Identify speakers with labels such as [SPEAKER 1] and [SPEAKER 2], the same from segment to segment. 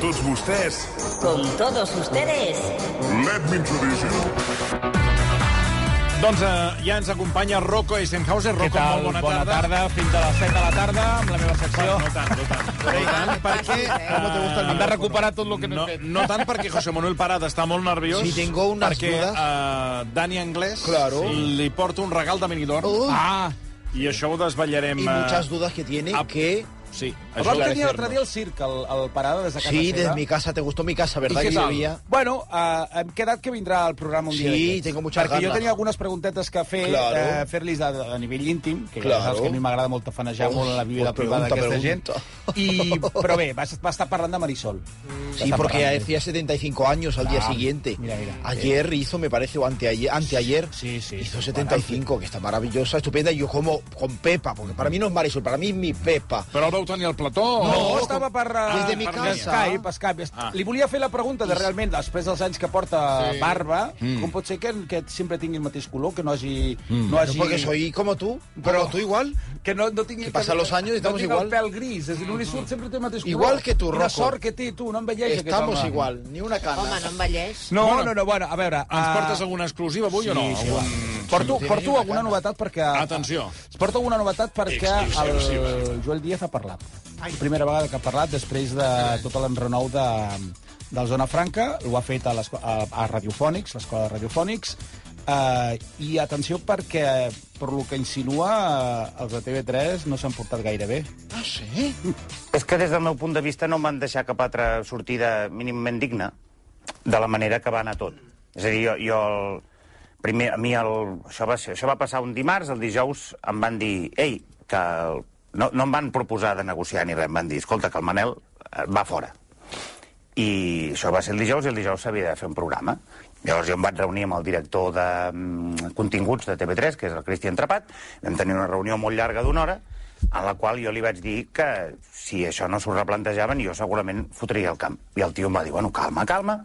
[SPEAKER 1] tots vostès.
[SPEAKER 2] Con todos ustedes.
[SPEAKER 1] Let me introduce you.
[SPEAKER 3] Doncs eh, ja ens acompanya Rocco Eisenhauser.
[SPEAKER 4] Què
[SPEAKER 3] Rocco,
[SPEAKER 4] tal?
[SPEAKER 3] molt bona,
[SPEAKER 4] Bona tarda. Fins a les 7 de la tarda amb la meva secció.
[SPEAKER 3] Bueno, no tant, no tant.
[SPEAKER 4] No tant, perquè eh, hem de recuperar tot el que no
[SPEAKER 3] No,
[SPEAKER 4] he fet.
[SPEAKER 3] no tant perquè José Manuel Parada està molt nerviós.
[SPEAKER 5] Sí, tengo unas
[SPEAKER 3] perquè,
[SPEAKER 5] dudas.
[SPEAKER 3] Perquè Dani Anglès
[SPEAKER 5] Claro.
[SPEAKER 3] li porta un regal de Benidorm.
[SPEAKER 5] Oh.
[SPEAKER 4] Ah,
[SPEAKER 3] I això ho desvetllarem.
[SPEAKER 5] y
[SPEAKER 3] eh,
[SPEAKER 5] muchas dudas que tiene
[SPEAKER 3] ah,
[SPEAKER 5] que...
[SPEAKER 3] Sí,
[SPEAKER 4] el vam
[SPEAKER 3] això ho
[SPEAKER 4] tenir
[SPEAKER 3] desvetllarem.
[SPEAKER 4] l'altre dia el circ, el, el Parada, des de casa
[SPEAKER 5] Sí,
[SPEAKER 4] seva.
[SPEAKER 5] desde mi casa. ¿Te gustó mi casa, verdad?
[SPEAKER 4] ¿Y
[SPEAKER 5] Que
[SPEAKER 4] qué tal?
[SPEAKER 5] llovía.
[SPEAKER 4] Bueno, eh, hem quedat que vindrà al programa un dia
[SPEAKER 5] Sí,
[SPEAKER 4] d'aquests.
[SPEAKER 5] tengo muchas
[SPEAKER 4] Perquè jo
[SPEAKER 5] ganas.
[SPEAKER 4] tenia algunes preguntetes que fer,
[SPEAKER 5] Claro.
[SPEAKER 4] eh, fer-los a, a nivell íntim, que
[SPEAKER 5] Claro.
[SPEAKER 4] ja saps que a mi m'agrada molt tafanejar
[SPEAKER 5] Uf,
[SPEAKER 4] molt en la vida
[SPEAKER 5] pues
[SPEAKER 4] privada
[SPEAKER 5] pregunta,
[SPEAKER 4] d'aquesta gent.
[SPEAKER 5] pregunta.
[SPEAKER 4] I, però bé, va, va estar parlant de Marisol. Va
[SPEAKER 5] Sí,
[SPEAKER 4] estar
[SPEAKER 5] porque
[SPEAKER 4] parlant de-
[SPEAKER 5] hacía 75 años al día
[SPEAKER 4] Ah,
[SPEAKER 5] siguiente.
[SPEAKER 4] mira, mira.
[SPEAKER 5] ayer hizo, me parece, o anteayer, anteayer
[SPEAKER 4] Sí, sí,
[SPEAKER 5] hizo
[SPEAKER 4] sí.
[SPEAKER 5] 75, que está maravillosa, estupenda. Y yo como con Pepa, porque para mí no es Marisol, para mí es mi Pepa.
[SPEAKER 3] Però el vau tenir al plató?
[SPEAKER 4] No,
[SPEAKER 5] No,
[SPEAKER 4] estava per, eh,
[SPEAKER 5] des de mi
[SPEAKER 4] per
[SPEAKER 5] casa.
[SPEAKER 4] Skype, Skype.
[SPEAKER 3] Ah.
[SPEAKER 4] Ah. Li volia fer la pregunta de realment, després dels anys que porta sí. barba, mm. com pot ser que, que sempre tingui el mateix color, que no hagi... Mm. No
[SPEAKER 5] No,
[SPEAKER 4] hagi
[SPEAKER 5] porque soy como tú, pero tú igual.
[SPEAKER 4] Que no, no tingui...
[SPEAKER 5] Que passen los años i
[SPEAKER 4] no
[SPEAKER 5] estamos
[SPEAKER 4] tingui
[SPEAKER 5] igual. Mm.
[SPEAKER 4] el pèl gris, és a dir, no li surt, sempre té el mateix color.
[SPEAKER 5] Igual que tu,
[SPEAKER 4] Quina
[SPEAKER 5] Rocco.
[SPEAKER 4] sort que té tu, no envelleix aquest home.
[SPEAKER 5] Estamos igual, ni una cana.
[SPEAKER 2] Home, no envelleix.
[SPEAKER 4] No, bueno, no, no, bueno, a veure...
[SPEAKER 3] Ens
[SPEAKER 4] ah,
[SPEAKER 3] portes alguna exclusiva avui o no?
[SPEAKER 4] Sí, sí,
[SPEAKER 3] Algun-
[SPEAKER 4] va. Porto,
[SPEAKER 5] Sí, Ah,
[SPEAKER 4] porto
[SPEAKER 5] una
[SPEAKER 4] alguna
[SPEAKER 5] cana.
[SPEAKER 4] novetat perquè...
[SPEAKER 3] Atenció.
[SPEAKER 4] Porto alguna novetat perquè
[SPEAKER 3] Exclusiva.
[SPEAKER 4] el Joel Díaz ha parlat. Primera vegada que ha parlat després de tot l'enrenou de, del Zona Franca. Ho ha fet a, l'esco- a, a Radiofònics, l'escola de Radiofònics. Uh, I atenció perquè, per lo que insinua, eh, els de TV3 no s'han portat gaire bé.
[SPEAKER 5] Ah, sí?
[SPEAKER 6] És que des del meu punt de vista no em van deixar cap altra sortida mínimament digna de la manera que va anar tot. És a dir, jo, jo el primer, a mi el, això, va ser, això va passar un dimarts, el dijous em van dir, ei, que el, no, no em van proposar de negociar ni res, em van dir, escolta, que el Manel eh, va fora. I això va ser el dijous, i el dijous s'havia de fer un programa. Llavors jo em vaig reunir amb el director de mm, continguts de TV3, que és el Cristian Trapat, vam tenir una reunió molt llarga d'una hora, en la qual jo li vaig dir que si això no s'ho replantejaven, jo segurament fotria el camp. I el tio em va dir, bueno, calma, calma,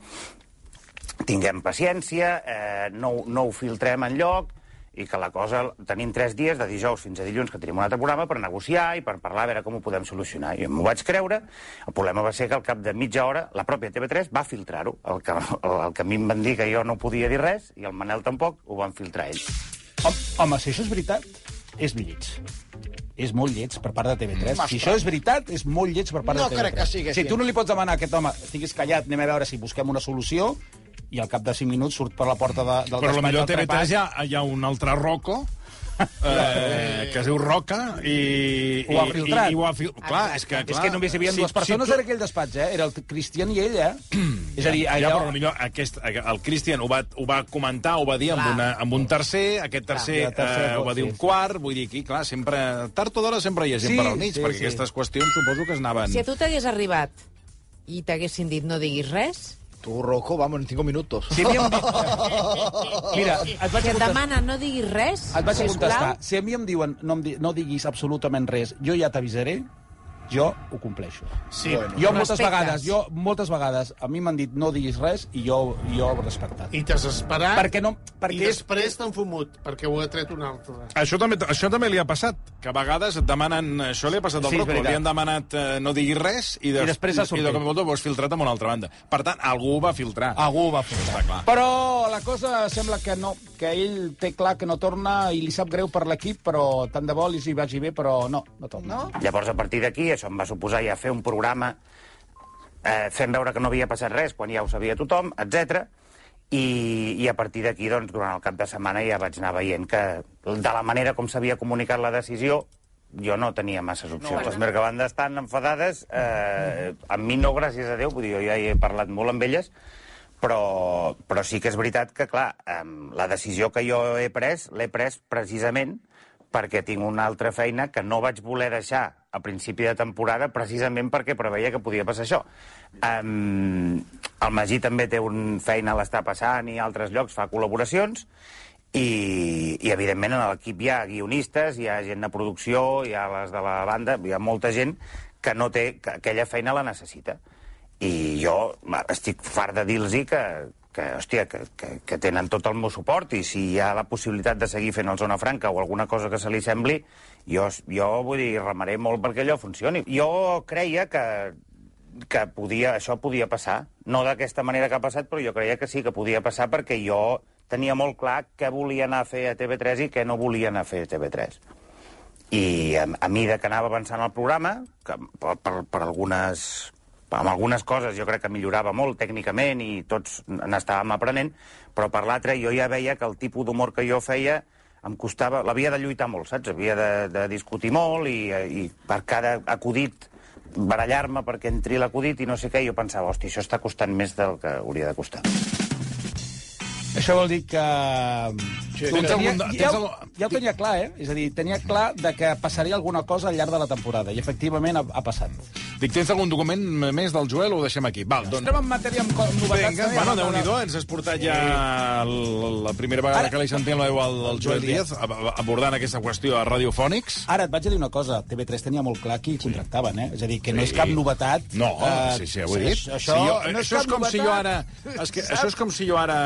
[SPEAKER 6] tinguem paciència, eh, no, ho- no ho filtrem en lloc i que la cosa... Tenim tres dies, de dijous fins a dilluns, que tenim un altre programa per negociar i per parlar a veure com ho podem solucionar. I m'ho vaig creure. El problema va ser que al cap de mitja hora la pròpia TV3 va filtrar-ho. El, que, el, el que a mi em van dir que jo no podia dir res i el Manel tampoc, ho van filtrar ells.
[SPEAKER 4] Hom- Home, si això és veritat, és lleig. És molt lleig per part de TV3. si això és veritat, és molt lleig per
[SPEAKER 5] Mm,
[SPEAKER 4] part
[SPEAKER 5] No
[SPEAKER 4] de TV3.
[SPEAKER 5] crec que sigui
[SPEAKER 4] si
[SPEAKER 5] així.
[SPEAKER 4] tu no li pots demanar a aquest home, estiguis callat, anem a veure si busquem una solució, i al cap de 5 minuts surt per la porta de, del
[SPEAKER 3] Però
[SPEAKER 4] despatx
[SPEAKER 3] potser
[SPEAKER 4] del
[SPEAKER 3] TV3
[SPEAKER 4] trepat.
[SPEAKER 3] hi ha, hi ha un altre Rocco, eh, que es diu Roca i...
[SPEAKER 4] Ho ha
[SPEAKER 3] i-
[SPEAKER 4] filtrat.
[SPEAKER 3] I, i ho ha fil... Clar, és que... Clar,
[SPEAKER 4] és que només hi havia dues persones,
[SPEAKER 3] tu-
[SPEAKER 4] era aquell despatx, eh? Era el Cristian i ella. és a dir,
[SPEAKER 3] Ja,
[SPEAKER 4] allò...
[SPEAKER 3] però potser aquest, el Christian ho va, ho va comentar, ho va dir amb,
[SPEAKER 2] Clar.
[SPEAKER 3] una, amb un tercer, aquest tercer,
[SPEAKER 4] Ja, tercer,
[SPEAKER 3] eh, ho va dir
[SPEAKER 4] sí,
[SPEAKER 3] un
[SPEAKER 4] sí.
[SPEAKER 3] quart, vull dir aquí, clar, sempre, tard o d'hora sempre hi ha gent
[SPEAKER 4] Sí,
[SPEAKER 3] per al mig,
[SPEAKER 4] sí,
[SPEAKER 3] perquè
[SPEAKER 4] sí.
[SPEAKER 3] aquestes qüestions suposo que es anaven...
[SPEAKER 2] Si a tu t'hagués arribat i t'haguessin dit no diguis res,
[SPEAKER 5] Tú, Rocco, vamos, en cinco minutos.
[SPEAKER 4] Si havíem dit... Mira, et vaig
[SPEAKER 2] si et
[SPEAKER 4] contestar-
[SPEAKER 2] demanen no diguis res,
[SPEAKER 4] Et vaig
[SPEAKER 2] sisplau,
[SPEAKER 4] contestar, si a mi em diuen no, em di no diguis absolutament res, jo ja t'avisaré, jo ho compleixo.
[SPEAKER 3] Sí,
[SPEAKER 5] Bueno.
[SPEAKER 4] Jo moltes
[SPEAKER 2] Respectes.
[SPEAKER 4] vegades, jo moltes vegades, a mi m'han dit no diguis res i jo, jo ho he respectat.
[SPEAKER 7] I t'has esperat...
[SPEAKER 4] Perquè no...
[SPEAKER 7] I
[SPEAKER 4] Perquè és...
[SPEAKER 7] després t'han fumut, perquè ho ha tret un altre.
[SPEAKER 3] Això també, això també li ha passat, que a vegades et demanen... Això li ha passat al
[SPEAKER 4] Sí,
[SPEAKER 3] sí,
[SPEAKER 4] és
[SPEAKER 3] Rocco,
[SPEAKER 4] veritat.
[SPEAKER 3] li han demanat eh, no diguis res i,
[SPEAKER 4] I després ha sortit.
[SPEAKER 3] I de cop i volta ho has filtrat amb una altra banda. Per tant, algú ho va filtrar.
[SPEAKER 4] Algú ho va fer.
[SPEAKER 3] Està clar.
[SPEAKER 4] Però la cosa sembla que no, que ell té clar que no torna i li sap greu per l'equip, però tant de bo li hi vagi bé, però no, no torna. No?
[SPEAKER 6] Llavors, a partir d'aquí, això em va suposar ja fer un programa eh, fent veure que no havia passat res quan ja ho sabia tothom, etc. I, I a partir d'aquí, doncs, durant el cap de setmana ja vaig anar veient que de la manera com s'havia comunicat la decisió jo no tenia masses opcions. No, Les mercabandes estan enfadades, eh, amb mi no, gràcies a Déu, vull dir, jo ja hi he parlat molt amb elles, però, però sí que és veritat que, clar, eh, la decisió que jo he pres, l'he pres precisament perquè tinc una altra feina que no vaig voler deixar a principi de temporada precisament perquè preveia que podia passar això. Um, el Magí també té un feina a l'està passant i a altres llocs fa col·laboracions i, i evidentment, en l'equip hi ha guionistes, hi ha gent de producció, hi ha les de la banda, hi ha molta gent que no té... que aquella feina la necessita. I jo va, estic fart de dir-los que, que, hòstia, que, que, que tenen tot el meu suport i si hi ha la possibilitat de seguir fent el Zona Franca o alguna cosa que se li sembli, jo, jo vull dir, remaré molt perquè allò funcioni. Jo creia que que podia, això podia passar. No d'aquesta manera que ha passat, però jo creia que sí que podia passar perquè jo tenia molt clar què volia anar a fer a TV3 i què no volia anar a fer a TV3. I a, a mida que anava avançant el programa, que per, per, per algunes amb algunes coses jo crec que millorava molt tècnicament i tots n'estàvem aprenent, però per l'altra jo ja veia que el tipus d'humor que jo feia em costava... L'havia de lluitar molt, saps? Havia de, de discutir molt i, i per cada acudit barallar-me perquè entri l'acudit i no sé què, i jo pensava, hòstia, això està costant més del que hauria de costar.
[SPEAKER 4] Això vol dir que...
[SPEAKER 3] Sí,
[SPEAKER 4] ho
[SPEAKER 3] tens
[SPEAKER 4] tenia,
[SPEAKER 3] algun-
[SPEAKER 4] ja,
[SPEAKER 3] tens
[SPEAKER 4] ho-
[SPEAKER 3] algun-
[SPEAKER 4] ja ho tenia clar, eh? És a dir, tenia clar de que passaria alguna cosa al llarg de la temporada, i efectivament ha, ha passat.
[SPEAKER 3] Dic, tens algun document més del Joel o ho deixem aquí? Val, doncs...
[SPEAKER 4] Entrem en matèria amb, co- amb novetats.
[SPEAKER 3] Vinga,
[SPEAKER 4] també.
[SPEAKER 3] bueno, déu nhi ens has portat ja l- la primera vegada
[SPEAKER 4] Ara- eh?
[SPEAKER 3] que li sentim la veu al, al Joel
[SPEAKER 4] Joel
[SPEAKER 3] Díaz ab- ab- abordant aquesta qüestió a Radiofònics.
[SPEAKER 4] Ara, et vaig a dir una cosa. TV3 tenia molt clar qui contractaven, eh? És a dir, que no és cap novetat.
[SPEAKER 3] No,
[SPEAKER 4] eh,
[SPEAKER 3] sí, sí, ho he dit.
[SPEAKER 4] Això,
[SPEAKER 3] si jo,
[SPEAKER 4] no és
[SPEAKER 3] això és
[SPEAKER 4] cap
[SPEAKER 3] com
[SPEAKER 4] novetat.
[SPEAKER 3] si jo ara... És que, això és com si jo ara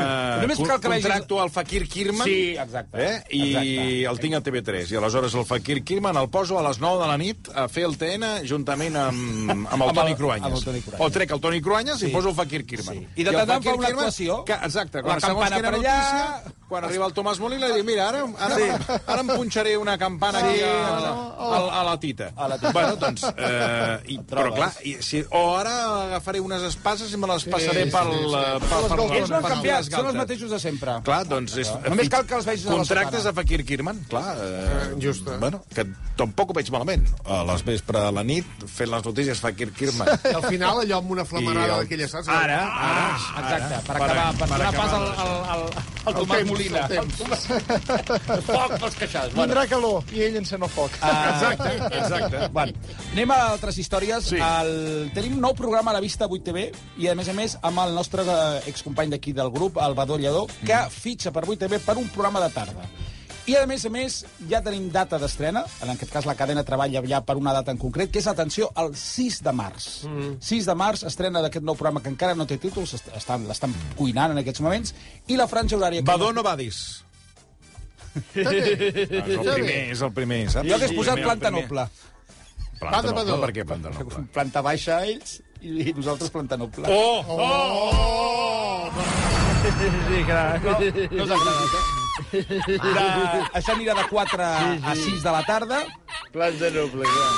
[SPEAKER 4] Només
[SPEAKER 3] con-
[SPEAKER 4] cal que vegis-
[SPEAKER 3] contracto el Fakir Kirman
[SPEAKER 4] Sí, exacte,
[SPEAKER 3] eh? i
[SPEAKER 4] exacte.
[SPEAKER 3] el tinc a TV3. I aleshores el Fakir Kirman el poso a les 9 de la nit a fer el TN juntament amb, amb el
[SPEAKER 4] Amb el-
[SPEAKER 3] Toni Cruanyes.
[SPEAKER 4] amb el Toni Cruanyes.
[SPEAKER 3] O trec el Toni Cruanyes i poso el Fakir Kirman.
[SPEAKER 4] Sí. I de
[SPEAKER 3] el
[SPEAKER 4] tant en tant
[SPEAKER 3] Fakir
[SPEAKER 4] fa una
[SPEAKER 3] Kirman,
[SPEAKER 4] actuació,
[SPEAKER 3] Que, exacte,
[SPEAKER 4] la
[SPEAKER 3] quan, segons
[SPEAKER 4] campana
[SPEAKER 3] quina
[SPEAKER 4] per allà.
[SPEAKER 3] notícia, quan arriba el Tomàs Molina li diu, mira, ara, ara, sí. ara em punxaré una campana sí, aquí a, a, a, la tita.
[SPEAKER 4] A la tita.
[SPEAKER 3] Bueno, doncs, eh, i, però
[SPEAKER 4] trobes.
[SPEAKER 3] clar, i, si, o ara agafaré unes espases i me les passaré pel... eh, pel- per- per-
[SPEAKER 4] Ells no han
[SPEAKER 3] per-
[SPEAKER 4] canviat,
[SPEAKER 3] per-
[SPEAKER 4] són els mateixos de sempre.
[SPEAKER 3] Clar, doncs... És,
[SPEAKER 4] Només cal que els vegis a la
[SPEAKER 3] Contractes
[SPEAKER 4] setmana.
[SPEAKER 3] a Fakir Kirman, clar. Eh,
[SPEAKER 7] Eh, justa.
[SPEAKER 3] Bueno, que tampoc ho veig malament. A les vespre a la nit, fent les notícies Fakir Kirman.
[SPEAKER 7] I al final allò amb una flamarada
[SPEAKER 3] I el-
[SPEAKER 7] d'aquella, saps?
[SPEAKER 3] Ara, Ah, ara...
[SPEAKER 4] Ah, Exacte, per
[SPEAKER 3] Per-
[SPEAKER 4] acabar, per,
[SPEAKER 3] per
[SPEAKER 4] donar
[SPEAKER 3] acabar
[SPEAKER 4] pas al,
[SPEAKER 3] amb
[SPEAKER 4] al, al, al Tomàs
[SPEAKER 7] temps,
[SPEAKER 4] Molina.
[SPEAKER 7] el temps.
[SPEAKER 4] El Foc pels queixals. Bueno,
[SPEAKER 8] Tindrà calor i ell encén el foc.
[SPEAKER 5] Ah,
[SPEAKER 3] Exacte, exacte.
[SPEAKER 4] Bueno, anem a altres històries.
[SPEAKER 3] Sí.
[SPEAKER 4] Sí. El... Tenim nou programa a la Vista 8 TV i, a més a més, amb el nostre eh, excompany d'aquí del grup, el Badó Lledó, que
[SPEAKER 3] Mm.
[SPEAKER 4] fitxa per 8 TV per un programa de tarda. I, a més a més, ja tenim data d'estrena, en aquest cas la cadena treballa ja per una data en concret, que és, atenció, el 6 de març. Mm. 6 de març estrena d'aquest nou programa que encara no té títols, est- estan- l'estan cuinant en aquests moments, i la franja horària... que no-
[SPEAKER 3] Badó no Badis. és el primer, és el primer, saps?
[SPEAKER 4] Jo hagués posat
[SPEAKER 3] Primer,
[SPEAKER 4] planta
[SPEAKER 3] el primer.
[SPEAKER 4] noble.
[SPEAKER 3] Planta
[SPEAKER 7] Badó,
[SPEAKER 3] noble,
[SPEAKER 7] Badó.
[SPEAKER 3] per què planta noble?
[SPEAKER 4] Planta baixa a ells i i nosaltres planta noble.
[SPEAKER 3] Oh! Oh!
[SPEAKER 4] Oh! No us ha agradat, eh? De... Això anirà de 4 a 6 de la tarda.
[SPEAKER 8] Planta noble, clar.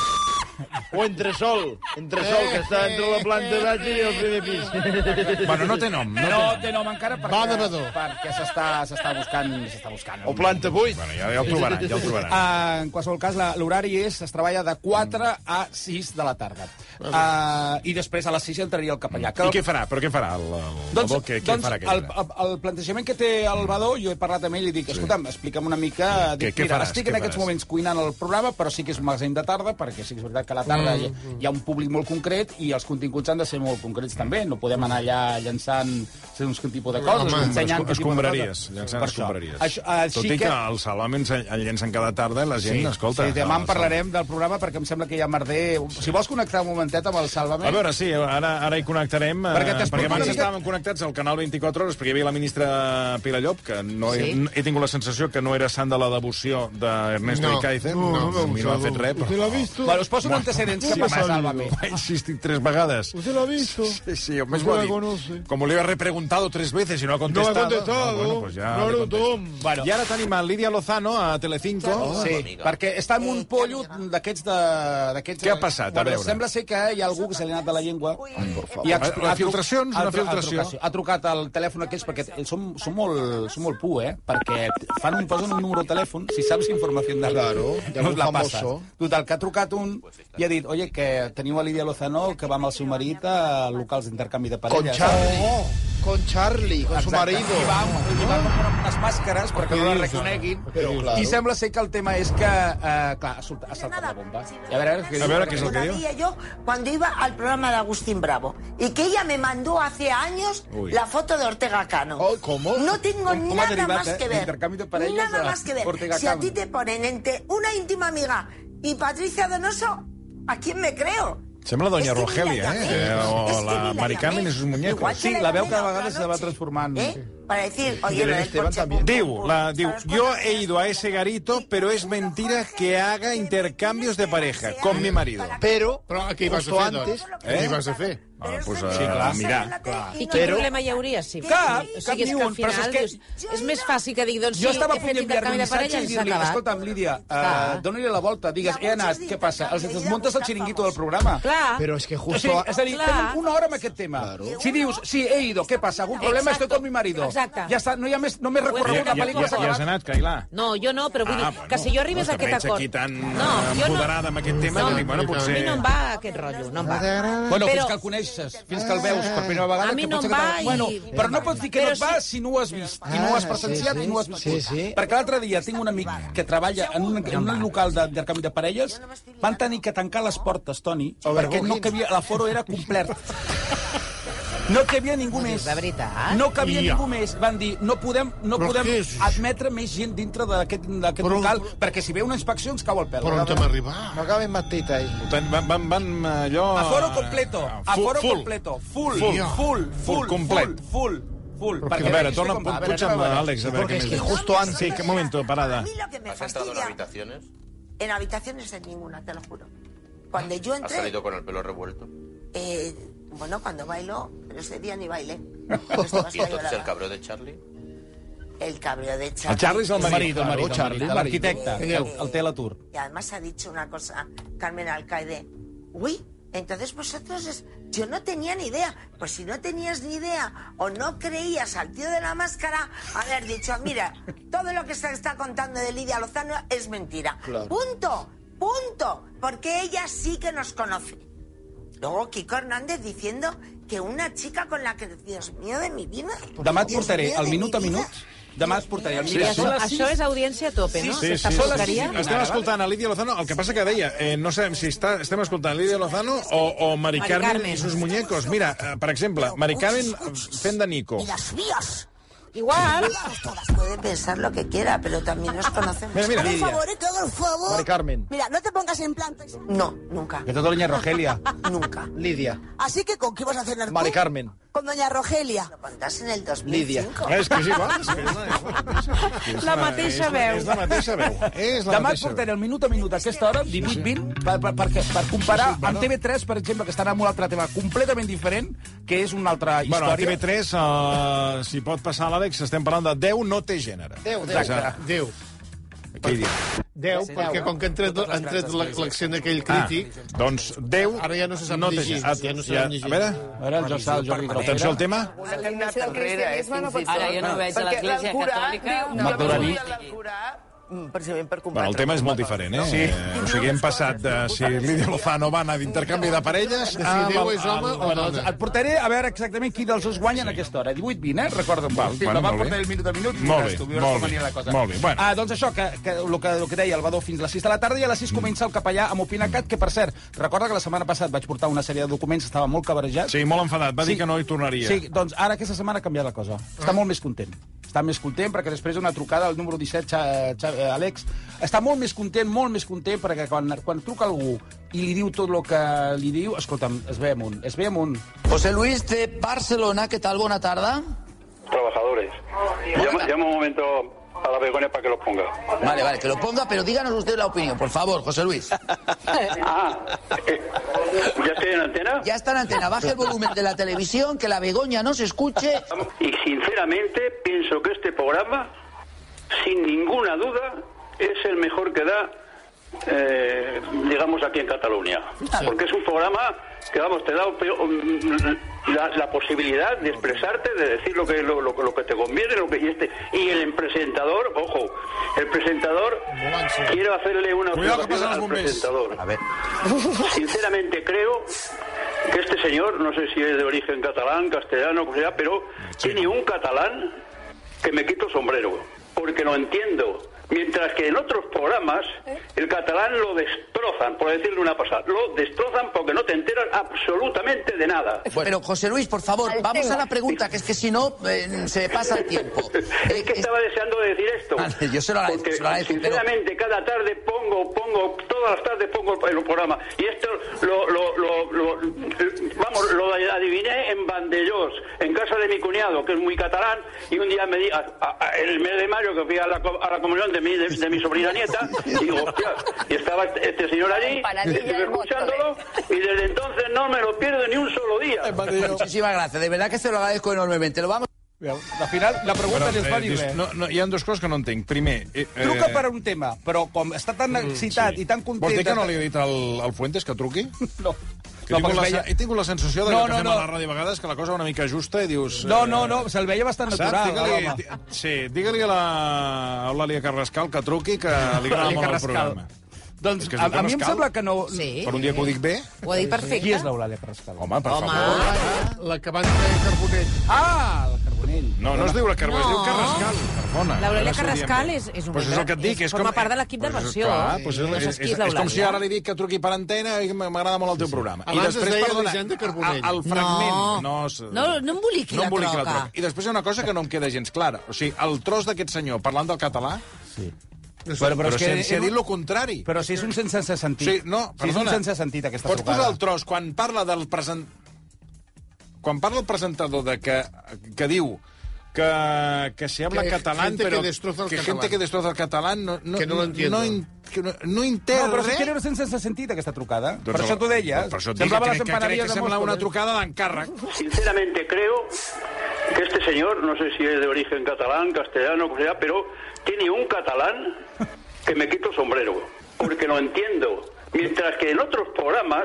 [SPEAKER 8] O entresol, entresol, que està entre la planta baixa i el primer pis.
[SPEAKER 3] Bueno, no té nom. No,
[SPEAKER 4] No
[SPEAKER 3] té...
[SPEAKER 4] té nom encara perquè,
[SPEAKER 7] Va de Badó.
[SPEAKER 4] perquè s'està s'està buscant... s'està buscant.
[SPEAKER 8] O planta buit.
[SPEAKER 3] Bueno, ja, ja el trobaran, ja el trobaran.
[SPEAKER 4] Uh, en qualsevol cas, la- l'horari és... es treballa de 4 a 6 de la tarda. Uh, I després a les 6 entraria el capellà.
[SPEAKER 3] I què farà? Però què farà? El, el,
[SPEAKER 4] Doncs,
[SPEAKER 3] el, què,
[SPEAKER 4] doncs
[SPEAKER 3] què farà
[SPEAKER 4] el,
[SPEAKER 3] aquest?
[SPEAKER 4] el, el plantejament que té el Badó, jo he parlat amb ell i dic, escolta'm, explica'm una mica...
[SPEAKER 3] Què-
[SPEAKER 4] Dic,
[SPEAKER 3] què
[SPEAKER 4] mira,
[SPEAKER 3] faràs?
[SPEAKER 4] estic
[SPEAKER 3] Què
[SPEAKER 4] en aquests
[SPEAKER 3] faràs?"
[SPEAKER 4] moments cuinant el programa, però sí que és un magasin de tarda, perquè sí que és veritat que a la tarda
[SPEAKER 3] Mm,
[SPEAKER 4] hi, hi ha un públic molt concret i els continguts han de ser molt concrets també. No podem anar allà llançant segons quin tipus de coses,
[SPEAKER 7] Home,
[SPEAKER 4] ensenyant... quin tipus de
[SPEAKER 3] escombraries,
[SPEAKER 4] coses.
[SPEAKER 3] llançant
[SPEAKER 4] Per això.
[SPEAKER 3] escombraries.
[SPEAKER 4] Això, així
[SPEAKER 3] Tot i que el Salvament el llencen cada tarda i la gent, escolta...
[SPEAKER 4] sí, demà en
[SPEAKER 3] el-
[SPEAKER 4] parlarem del programa perquè em sembla que hi ha merder... Si vols connectar un momentet amb el Salvament...
[SPEAKER 3] A veure, sí, ara, ara hi connectarem. eh,
[SPEAKER 4] Perquè t'explico
[SPEAKER 3] perquè abans
[SPEAKER 4] una mica-
[SPEAKER 3] estàvem connectats al canal 24 hores, perquè hi havia la ministra Pilar Llop, que no he,
[SPEAKER 2] Sí.
[SPEAKER 3] he tingut la sensació que no era sant de la devoció d'Ernesto
[SPEAKER 7] No,
[SPEAKER 3] Icaizer.
[SPEAKER 7] no, no,
[SPEAKER 3] a mi no ha fet res, però...
[SPEAKER 8] l'ha vist?
[SPEAKER 4] Bueno, us poso un antecedent que
[SPEAKER 3] Sí,
[SPEAKER 4] passa a
[SPEAKER 3] m'ha-
[SPEAKER 4] Sálvame.
[SPEAKER 3] m'ha insistit tres vegades.
[SPEAKER 8] Usted lo ha visto.
[SPEAKER 3] Sí, sí, me
[SPEAKER 8] Usted
[SPEAKER 3] lo
[SPEAKER 8] la
[SPEAKER 3] ha
[SPEAKER 8] conoce.
[SPEAKER 3] dicho. Como le había repreguntado tres veces y no ha contestado.
[SPEAKER 8] contestado.
[SPEAKER 3] Ah, bueno, pues ya
[SPEAKER 8] No,
[SPEAKER 3] le
[SPEAKER 8] no,
[SPEAKER 3] contesto.
[SPEAKER 8] Tom.
[SPEAKER 3] Y ahora te anima Lidia Lozano a Telecinco.
[SPEAKER 4] Sí, perquè està en un pollo d'aquests de... d'aquests-
[SPEAKER 3] Què ha passat? A veure.
[SPEAKER 4] Sembla ser que hi ha algú que se li ha anat de la llengua. I
[SPEAKER 3] La- la
[SPEAKER 4] tru-
[SPEAKER 3] filtració és Eh, una
[SPEAKER 4] ha tru- ha
[SPEAKER 3] filtració.
[SPEAKER 4] trucat- Ha trucat al telèfon aquells perquè t- són, són, molt, són molt pu, eh? Perquè fan un, posen un número de telèfon, si saps informació de
[SPEAKER 5] Claro, de
[SPEAKER 4] no us la
[SPEAKER 5] algú
[SPEAKER 4] passa.
[SPEAKER 5] famoso.
[SPEAKER 4] Total, que ha trucat un i ha dit, oye, que teniu a Lídia Lozano que va amb el seu marit a locals d'intercanvi de
[SPEAKER 5] Con
[SPEAKER 4] parelles.
[SPEAKER 5] Charlie. Oh, Con Charlie, con su
[SPEAKER 4] Exacte.
[SPEAKER 5] marido.
[SPEAKER 4] I va, amb- i va amb unes màscares perquè no la reconeguin.
[SPEAKER 3] eh?
[SPEAKER 5] Però, claro.
[SPEAKER 4] I sembla ser que el tema és que, eh, clar, ha salt- ha saltat la bomba. I a veure, a veure què
[SPEAKER 3] A
[SPEAKER 4] diu.
[SPEAKER 3] veure què és el que diu.
[SPEAKER 9] Todavía yo cuando iba al programa de Agustín Bravo y que ella me mandó hace años
[SPEAKER 3] Uy.
[SPEAKER 9] la foto de Ortega Cano.
[SPEAKER 5] Oh, ¿cómo?
[SPEAKER 9] No tengo
[SPEAKER 4] ¿Cómo ha
[SPEAKER 9] nada
[SPEAKER 4] derivado,
[SPEAKER 9] más
[SPEAKER 4] eh?
[SPEAKER 9] que
[SPEAKER 4] El
[SPEAKER 9] ver.
[SPEAKER 4] intercambio de parejas
[SPEAKER 9] nada
[SPEAKER 4] a
[SPEAKER 9] más que ver.
[SPEAKER 4] Ortega
[SPEAKER 9] si a
[SPEAKER 4] Cano.
[SPEAKER 9] ti te ponen entre una íntima amiga y Patricia Donoso, ¿a quién me creo?
[SPEAKER 3] Sembla
[SPEAKER 9] que
[SPEAKER 3] doña
[SPEAKER 9] ni
[SPEAKER 3] Rogelia,
[SPEAKER 9] llamé.
[SPEAKER 3] eh? Eh, o
[SPEAKER 9] Es que
[SPEAKER 3] la
[SPEAKER 9] ni
[SPEAKER 3] Mari Carmen
[SPEAKER 9] llamé.
[SPEAKER 3] i sus muñecos.
[SPEAKER 9] Igual que
[SPEAKER 4] Sí, la veu
[SPEAKER 9] llamé
[SPEAKER 4] cada
[SPEAKER 9] otra
[SPEAKER 4] vegada se va
[SPEAKER 9] noche.
[SPEAKER 4] transformant.
[SPEAKER 9] Eh? Para decir, oye,
[SPEAKER 5] Y
[SPEAKER 9] lo
[SPEAKER 5] Belén
[SPEAKER 9] del
[SPEAKER 5] Esteban
[SPEAKER 9] coche...
[SPEAKER 5] también.
[SPEAKER 9] pum, pum,
[SPEAKER 3] Diu,
[SPEAKER 9] pum,
[SPEAKER 3] la, diu,
[SPEAKER 9] ¿sabes
[SPEAKER 3] yo
[SPEAKER 9] cuántas
[SPEAKER 3] he ido a
[SPEAKER 9] veces?
[SPEAKER 3] ese garito,
[SPEAKER 9] Y
[SPEAKER 3] pero es
[SPEAKER 9] una
[SPEAKER 3] mentira
[SPEAKER 9] cosa
[SPEAKER 3] que haga
[SPEAKER 9] es
[SPEAKER 3] intercambios de pareja con mi marido.
[SPEAKER 5] Pero,
[SPEAKER 7] Però què hi vas a
[SPEAKER 5] justo
[SPEAKER 7] fer, doncs?
[SPEAKER 5] antes,
[SPEAKER 7] Què hi vas a fer?
[SPEAKER 9] Ah,
[SPEAKER 1] pues,
[SPEAKER 9] a,
[SPEAKER 1] Sí, clar. a
[SPEAKER 9] mirar. Clar.
[SPEAKER 2] I quin
[SPEAKER 5] Però-
[SPEAKER 2] problema hi hauria, sí?
[SPEAKER 9] Cap,
[SPEAKER 2] o
[SPEAKER 4] cap
[SPEAKER 2] sigui, és
[SPEAKER 4] ni
[SPEAKER 2] que
[SPEAKER 4] un,
[SPEAKER 2] al
[SPEAKER 4] però és
[SPEAKER 2] final
[SPEAKER 4] que-
[SPEAKER 2] dius, és més fàcil que digui, doncs
[SPEAKER 4] Jo
[SPEAKER 2] sí,
[SPEAKER 4] estava a
[SPEAKER 2] he
[SPEAKER 4] punt
[SPEAKER 2] fet
[SPEAKER 4] d'enviar-li
[SPEAKER 2] intercanvi
[SPEAKER 4] un
[SPEAKER 2] de parella
[SPEAKER 4] missatge i
[SPEAKER 2] i s'ha
[SPEAKER 4] dir-li,
[SPEAKER 2] acabat.
[SPEAKER 4] escolta'm, Lídia, uh,
[SPEAKER 2] Clar.
[SPEAKER 4] dona-li la volta, digues, he anat, què passa? Els desmuntes el xiringuito del programa.
[SPEAKER 2] Clar,
[SPEAKER 5] pero es que
[SPEAKER 4] O
[SPEAKER 5] justo...
[SPEAKER 4] sigui,
[SPEAKER 5] a-
[SPEAKER 4] és a dir,
[SPEAKER 2] Clar.
[SPEAKER 4] tenen una hora amb aquest tema. Si dius, sí, he ido, què passa? Algun problema?
[SPEAKER 2] Exacto.
[SPEAKER 4] Estoy con mi marido.
[SPEAKER 2] Exacte.
[SPEAKER 4] Ja està, no hi ha més, no més
[SPEAKER 2] I-
[SPEAKER 4] recorregut,
[SPEAKER 2] i-
[SPEAKER 4] la pel·lícula s'ha acabat.
[SPEAKER 3] anat, Cailà?
[SPEAKER 2] no, jo no, però vull dir,
[SPEAKER 1] Ah, bueno.
[SPEAKER 2] que si jo arribés a
[SPEAKER 1] Doncs que
[SPEAKER 2] aquest
[SPEAKER 1] veig
[SPEAKER 2] acord...
[SPEAKER 1] aquí tan,
[SPEAKER 2] no,
[SPEAKER 1] eh,
[SPEAKER 2] jo no,
[SPEAKER 1] empoderada amb aquest tema,
[SPEAKER 2] no,
[SPEAKER 1] jo dic, bueno,
[SPEAKER 2] A mi
[SPEAKER 1] potser-
[SPEAKER 2] no em va aquest rotllo, no em va.
[SPEAKER 4] Bueno,
[SPEAKER 2] Ah, Però- Ah.
[SPEAKER 4] fins que el coneixes, fins que el veus per primera vegada...
[SPEAKER 2] A mi
[SPEAKER 4] que
[SPEAKER 2] no
[SPEAKER 4] potser
[SPEAKER 2] em
[SPEAKER 4] que
[SPEAKER 2] va
[SPEAKER 4] t'agrada.
[SPEAKER 2] i-
[SPEAKER 4] Bueno, però no pots dir que
[SPEAKER 2] Però
[SPEAKER 4] no et va
[SPEAKER 2] sí. Ah,
[SPEAKER 4] si no ho has vist, i no ho has presenciat,
[SPEAKER 5] sí,
[SPEAKER 4] i no ho has viscut.
[SPEAKER 5] sí, sí.
[SPEAKER 4] Perquè l'altre dia tinc un amic que treballa en un, en un local de- d'intercanvi de parelles, van tenir que tancar les portes, Toni, perquè no cabia, l'aforo era complet. No cabia ningú més.
[SPEAKER 2] de veritat?
[SPEAKER 4] No cabia ningú més. Van dir, no podem, no
[SPEAKER 7] Però
[SPEAKER 4] podem
[SPEAKER 7] què és això?
[SPEAKER 4] admetre més gent dintre d'aquest d'aquest
[SPEAKER 7] Però-
[SPEAKER 4] local, perquè si ve una inspecció ens cau el pèl.
[SPEAKER 7] Però on hem
[SPEAKER 5] No
[SPEAKER 7] arribat?
[SPEAKER 5] caben más tita ahí.
[SPEAKER 3] Van, van, van, van eh, allò... ah,
[SPEAKER 4] Aforo completo, aforo completo, full, full, full, full,
[SPEAKER 3] complet.
[SPEAKER 4] full, full.
[SPEAKER 3] A veure, torna, puja'm, Àlex, a veure
[SPEAKER 5] Porque
[SPEAKER 3] què
[SPEAKER 5] es que
[SPEAKER 3] més.
[SPEAKER 5] justo antes...
[SPEAKER 3] Sí, que un momento,
[SPEAKER 9] A
[SPEAKER 3] parada.
[SPEAKER 9] mí lo que me
[SPEAKER 10] ¿Has entrado en
[SPEAKER 9] fastidia...
[SPEAKER 10] habitaciones?
[SPEAKER 9] En habitaciones en ninguna, te lo juro. Cuando yo
[SPEAKER 10] ¿Has
[SPEAKER 9] entré...
[SPEAKER 10] salido con el pelo revuelto?
[SPEAKER 9] eh, bueno, cuando bailo, pero ese día ni bailé.
[SPEAKER 10] ¿Y entonces el cabrón de Charlie?
[SPEAKER 9] El cabreo de
[SPEAKER 3] El
[SPEAKER 9] Charlie.
[SPEAKER 3] Charlie és el marit.
[SPEAKER 4] el marit, el marit, l'arquitecte,
[SPEAKER 9] Eh,
[SPEAKER 4] que el, el té a l'atur.
[SPEAKER 9] Y además ha dicho una cosa, Carmen Alcaide. Uy, entonces vosotros, es- yo no tenía ni idea. Pues si no tenías ni idea o no creías al tío de la máscara, haber dicho, mira, todo lo que se está contando de Lidia Lozano es mentira. Punto, punto, porque ella sí que nos conoce. Luego Kiko Hernández diciendo que una chica con la que, Dios mío de mi vida.
[SPEAKER 4] Demà et
[SPEAKER 9] Dios
[SPEAKER 4] portaré
[SPEAKER 9] mío
[SPEAKER 4] el
[SPEAKER 9] de
[SPEAKER 4] minut a
[SPEAKER 9] mi vida.
[SPEAKER 4] minut, demà et portaré el
[SPEAKER 2] I
[SPEAKER 4] minut.
[SPEAKER 2] això, això és audiència a tope, no?
[SPEAKER 3] Sí, sí,
[SPEAKER 2] S'està
[SPEAKER 3] sí.
[SPEAKER 2] porqueria.
[SPEAKER 3] Estem escoltant a Lídia Lozano. El que passa que deia, eh, no sabem si està, estem escoltant Lídia Lozano o, o Mari
[SPEAKER 2] Mari
[SPEAKER 3] Carmen,
[SPEAKER 2] Carmen.
[SPEAKER 3] i sus muñecos. Mira, eh, per exemple, Mari Carmen fent de Nico.
[SPEAKER 9] Y las mías.
[SPEAKER 2] Igual,
[SPEAKER 9] Todas, Pues todas. Puede pensar lo que quiera, pero también nos conocemos.
[SPEAKER 3] Mira, mira.
[SPEAKER 11] favor, eh, todo el favor.
[SPEAKER 5] Mari Carmen.
[SPEAKER 11] Mira, no te pongas en plan. Texas.
[SPEAKER 9] No, nunca,
[SPEAKER 4] Que
[SPEAKER 3] tota
[SPEAKER 4] tot doña Rogelia.
[SPEAKER 9] nunca.
[SPEAKER 5] Lidia.
[SPEAKER 11] Así que, ¿con qué vas a cenar tú?
[SPEAKER 5] Mari Carmen.
[SPEAKER 11] Con doña Rogelia.
[SPEAKER 9] Lo contás en el 2005.
[SPEAKER 3] Eh, És que és igual. és que és la- és
[SPEAKER 2] La mateixa
[SPEAKER 3] és la-
[SPEAKER 2] veu.
[SPEAKER 3] És la mateixa veu. És la
[SPEAKER 4] Demà et
[SPEAKER 3] mateixa
[SPEAKER 4] portaré
[SPEAKER 3] veu.
[SPEAKER 4] el minut a minut a aquesta hora, 18-20, per, per, per, per comparar amb TV3, per exemple, que estarà amb un altre tema completament diferent, que és una altra
[SPEAKER 3] Bueno, a
[SPEAKER 4] història.
[SPEAKER 3] TV3, uh, si pot passar l'Àlex, estem parlant de 10 no té gènere.
[SPEAKER 5] Déu, Déu.
[SPEAKER 3] Exacte.
[SPEAKER 7] Déu.
[SPEAKER 3] Què hi diu?
[SPEAKER 7] 10, perquè com que han tret, han tret
[SPEAKER 5] tota
[SPEAKER 7] la- l'accent aquell
[SPEAKER 3] Ah,
[SPEAKER 7] crític...
[SPEAKER 3] doncs 10
[SPEAKER 7] Ara ja no se sap
[SPEAKER 3] no té
[SPEAKER 7] llegir,
[SPEAKER 3] gènere.
[SPEAKER 7] ja no se sap
[SPEAKER 3] Ja-
[SPEAKER 7] llegir.
[SPEAKER 3] A veure,
[SPEAKER 4] A veure, el Jordi, el Jordi
[SPEAKER 3] atenció al tema.
[SPEAKER 10] La tendència del cristianisme no pot
[SPEAKER 11] Ara jo no veig a l'Església Catòlica. No,
[SPEAKER 4] Magdalena.
[SPEAKER 11] no,
[SPEAKER 4] vull
[SPEAKER 10] precisament per combatre...
[SPEAKER 3] Bueno, el tema és molt diferent, eh? Sí. O sigui, hem passat de si Lídia Lozano va anar d'intercanvi de parelles
[SPEAKER 7] De
[SPEAKER 3] a...
[SPEAKER 7] si Déu és home o
[SPEAKER 4] Doncs
[SPEAKER 7] dona.
[SPEAKER 4] et portaré a veure exactament qui dels dos guanya en aquesta hora. 18-20, eh? Recorda'm.
[SPEAKER 3] Val,
[SPEAKER 4] Val, sí, bueno,
[SPEAKER 3] bueno,
[SPEAKER 4] demà
[SPEAKER 3] molt bé.
[SPEAKER 4] portaré el minut a minut. i
[SPEAKER 3] Molt
[SPEAKER 4] veuràs
[SPEAKER 3] bé,
[SPEAKER 4] tu, veuràs
[SPEAKER 3] molt
[SPEAKER 4] com
[SPEAKER 3] bé,
[SPEAKER 4] anirà la cosa.
[SPEAKER 3] molt bé, bueno.
[SPEAKER 4] Ah, doncs això, que, que, el, que, el que deia el Badó fins a les 6 de la tarda i a les 6 comença el capellà amb Opinacat, que per cert, recorda que la setmana passat vaig portar una sèrie de documents, estava molt cabrejat.
[SPEAKER 3] Sí, molt enfadat. Va dir que no hi tornaria.
[SPEAKER 4] Sí, Ah. doncs ara aquesta setmana ha canviat la cosa. Està molt més content. Està més content perquè després d'una trucada al número 17, Xa, Xa, eh, Àlex, està molt més content, molt més content, perquè quan, quan truca algú i li diu tot el que li diu, escolta'm, es ve amunt, es ve amunt.
[SPEAKER 11] José Luis de Barcelona, ¿qué tal? Buena tarde.
[SPEAKER 10] Trabajadores. Llama, llama un momento a la Begoña para que los ponga.
[SPEAKER 11] Vale, vale, que lo ponga, pero díganos usted la opinión, por favor, José Luis.
[SPEAKER 10] Ah, eh, ¿ya estoy en antena?
[SPEAKER 11] Ya está en antena, baje el volumen de la televisión, que la Begoña no se escuche.
[SPEAKER 10] Y sinceramente pienso que este programa, sin ninguna duda, es el mejor que da, eh, digamos, aquí en Cataluña. Porque es un programa que, vamos, te da mm, la, la posibilidad de expresarte, de decir lo que, lo, lo- lo que te conviene, lo que y este. Y el presentador, ojo, el presentador, quiero hacerle una
[SPEAKER 3] Cuidado que
[SPEAKER 10] observación
[SPEAKER 3] pasan los
[SPEAKER 10] al
[SPEAKER 3] bombes.
[SPEAKER 10] presentador. A ver. Sinceramente creo que este señor, no sé si es de origen catalán, castellano, o sea, pero tiene un catalán que me quito sombrero, porque lo entiendo. Mientras que en otros programas el catalán lo destrozan, por decirle una pasada, lo destrozan porque no te enteras absolutamente de nada.
[SPEAKER 11] Pero José Luis, por favor, vamos a la pregunta, que es que si no eh, se pasa el tiempo.
[SPEAKER 10] Pues,
[SPEAKER 11] Eh,
[SPEAKER 10] Es que estaba deseando decir esto.
[SPEAKER 11] Vale, yo se lo agradezco,
[SPEAKER 10] Porque,
[SPEAKER 11] se lo agradezco, pero-
[SPEAKER 10] sinceramente, cada tarde pongo, pongo, todas las tardes pongo el programa. Y esto lo, lo, lo- lo- vamos, lo adiviné en Vandellós, en casa de mi cuñado, que es muy catalán, y un día me di, a- a- a- el mes de mayo que fui a la, co- a la comunión de mi, de, de mi sobrina nieta, y digo, hostia, y estaba este, este señor allí,
[SPEAKER 11] Empanadilla
[SPEAKER 10] estuve
[SPEAKER 11] de móstoles.
[SPEAKER 10] escuchándolo, y desde entonces no me lo pierdo ni un solo día.
[SPEAKER 11] Muchísimas gracias, de verdad que se lo agradezco enormemente. Lo vamos...
[SPEAKER 4] Al final, la pregunta
[SPEAKER 3] Però, eh,
[SPEAKER 4] és vàlida.
[SPEAKER 3] dis- no, no, hi ha dues coses que no entenc. Primer... Eh, eh, mm,
[SPEAKER 4] Truca per un tema, però com està tan excitat i tan content...
[SPEAKER 3] Vols dir que no li he dit al, al Fuentes que truqui?
[SPEAKER 4] No. No,
[SPEAKER 3] Que no, tinc
[SPEAKER 4] perquè
[SPEAKER 3] la,
[SPEAKER 4] veia-
[SPEAKER 3] veia... He tingut la sensació de
[SPEAKER 4] No,
[SPEAKER 3] que
[SPEAKER 4] no,
[SPEAKER 3] fem
[SPEAKER 4] no.
[SPEAKER 3] a la ràdio a vegades que la cosa va una mica justa i dius... eh,
[SPEAKER 4] No, no, no, se'l veia bastant
[SPEAKER 3] Saps?
[SPEAKER 4] natural.
[SPEAKER 3] Digue-li
[SPEAKER 4] home.
[SPEAKER 3] di- sí, digue a la- a Eulàlia Carrascal que truqui, que li agrada
[SPEAKER 4] Eulàlia
[SPEAKER 3] molt el
[SPEAKER 4] Carrascal.
[SPEAKER 3] programa.
[SPEAKER 4] Doncs
[SPEAKER 3] És que es
[SPEAKER 4] a,
[SPEAKER 3] diu
[SPEAKER 4] a mi em
[SPEAKER 3] Carrascal?
[SPEAKER 4] sembla que no...
[SPEAKER 2] Sí.
[SPEAKER 3] Per un dia que ho dic bé?
[SPEAKER 2] Ho ha dit perfecte.
[SPEAKER 4] Qui és l'Eulàlia Carrascal?
[SPEAKER 3] Home, per
[SPEAKER 2] Home.
[SPEAKER 3] favor.
[SPEAKER 7] La que van fer Carbonell.
[SPEAKER 4] Ah, el Carbonell.
[SPEAKER 3] No, no es diu la Carbó, es diu
[SPEAKER 2] No.
[SPEAKER 3] Carrascal. Carmona.
[SPEAKER 2] L'Eulàlia
[SPEAKER 3] Ara s'ho diem
[SPEAKER 2] Carrascal
[SPEAKER 3] bé.
[SPEAKER 2] és- és un
[SPEAKER 3] Pues és el que et dic.
[SPEAKER 2] és-
[SPEAKER 3] És
[SPEAKER 2] forma part de l'equip de
[SPEAKER 3] Pues és-
[SPEAKER 2] versió. eh?
[SPEAKER 3] Clar, pues és,
[SPEAKER 2] No saps
[SPEAKER 3] és,
[SPEAKER 2] qui és
[SPEAKER 3] és, és com si
[SPEAKER 2] l'Eulàlia.
[SPEAKER 3] ara li dic que truqui per antena i m'agrada molt el teu programa.
[SPEAKER 7] Abans es deia Elisenda Carbonell.
[SPEAKER 3] a- el fragment...
[SPEAKER 2] No.
[SPEAKER 3] s-
[SPEAKER 2] No, no emboliqui la
[SPEAKER 3] emboliqui
[SPEAKER 2] troca.
[SPEAKER 3] I després hi ha una cosa que no em queda gens clara. O sigui, el tros d'aquest senyor parlant del català,
[SPEAKER 4] Bueno,
[SPEAKER 3] però,
[SPEAKER 4] però, és que...
[SPEAKER 3] si, si ha dit el contrari.
[SPEAKER 4] Però si és un sense sentit.
[SPEAKER 3] Sí, no,
[SPEAKER 4] si és un
[SPEAKER 3] perdona.
[SPEAKER 4] sense sentit, aquesta
[SPEAKER 3] Pots
[SPEAKER 4] trucada.
[SPEAKER 3] posar el tros quan parla del present... Quan parla el presentador de que, que diu que, que se habla
[SPEAKER 7] Que
[SPEAKER 3] catalán,
[SPEAKER 7] gente
[SPEAKER 3] pero
[SPEAKER 7] que destroza el
[SPEAKER 3] que
[SPEAKER 7] catalán.
[SPEAKER 3] gente que destroza el catalán no, no,
[SPEAKER 7] Que no lo entiendo.
[SPEAKER 3] no, in- que no, no
[SPEAKER 4] No,
[SPEAKER 3] interre-
[SPEAKER 4] però si és que era un sense sentit, aquesta trucada.
[SPEAKER 3] Doncs
[SPEAKER 4] per
[SPEAKER 3] el-
[SPEAKER 4] això t'ho deies.
[SPEAKER 3] Per això et dic,
[SPEAKER 4] Semblava
[SPEAKER 3] crec
[SPEAKER 4] les
[SPEAKER 3] que, crec que
[SPEAKER 4] empanadilles de eh?
[SPEAKER 3] sembla una
[SPEAKER 4] Móstoles.
[SPEAKER 3] trucada d'encàrrec.
[SPEAKER 10] Sinceramente creo que este señor, no sé si es de origen catalán, castellano, o sea, pero tiene un catalán que me quito el sombrero, porque lo entiendo. Mientras que en otros programas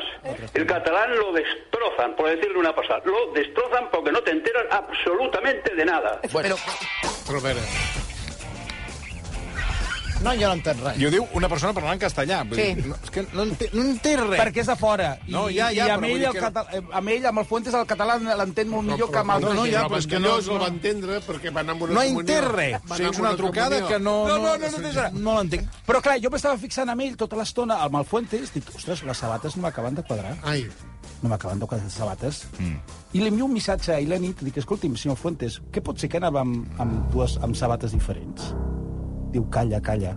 [SPEAKER 10] el catalán lo destrozan, por decirle una pasada, lo destrozan porque no te enteras absolutamente de nada.
[SPEAKER 11] Bueno,
[SPEAKER 7] Però a veure... No, jo no entenc res.
[SPEAKER 3] I ho diu una persona parlant en castellà. Vull
[SPEAKER 2] Sí.
[SPEAKER 3] dir, no, és que no, ente, no entén res.
[SPEAKER 4] perquè és de fora. I,
[SPEAKER 3] No, ja, ja,
[SPEAKER 4] i
[SPEAKER 3] però
[SPEAKER 4] amb
[SPEAKER 3] vull
[SPEAKER 4] ell,
[SPEAKER 3] dir
[SPEAKER 4] el
[SPEAKER 3] que-
[SPEAKER 4] català, eh, amb ell, amb el Fuentes, el català l'entén molt millor que amb altres.
[SPEAKER 7] no, ja,
[SPEAKER 4] gent.
[SPEAKER 7] però és que no es va entendre perquè va anar amb una
[SPEAKER 3] No
[SPEAKER 7] comunió.
[SPEAKER 3] entén res.
[SPEAKER 7] Va
[SPEAKER 3] O sigui,
[SPEAKER 7] anar
[SPEAKER 3] és
[SPEAKER 7] amb
[SPEAKER 3] una trucada
[SPEAKER 7] comunió.
[SPEAKER 3] que
[SPEAKER 4] No,
[SPEAKER 3] no...
[SPEAKER 4] no, no, no entens res.
[SPEAKER 3] no l'entenc.
[SPEAKER 4] Però clar, jo m'estava fixant amb ell tota l'estona, amb el Fuentes, dic, ostres, les sabates no m'acaben de quadrar.
[SPEAKER 7] Ai,
[SPEAKER 4] No m'acaben de quadrar les sabates. Mm. I li envio un missatge ahir a la nit, dic, escolti'm, senyor Fuentes, què pot ser que anava amb, amb dues amb sabates diferents? Diu, calla, calla.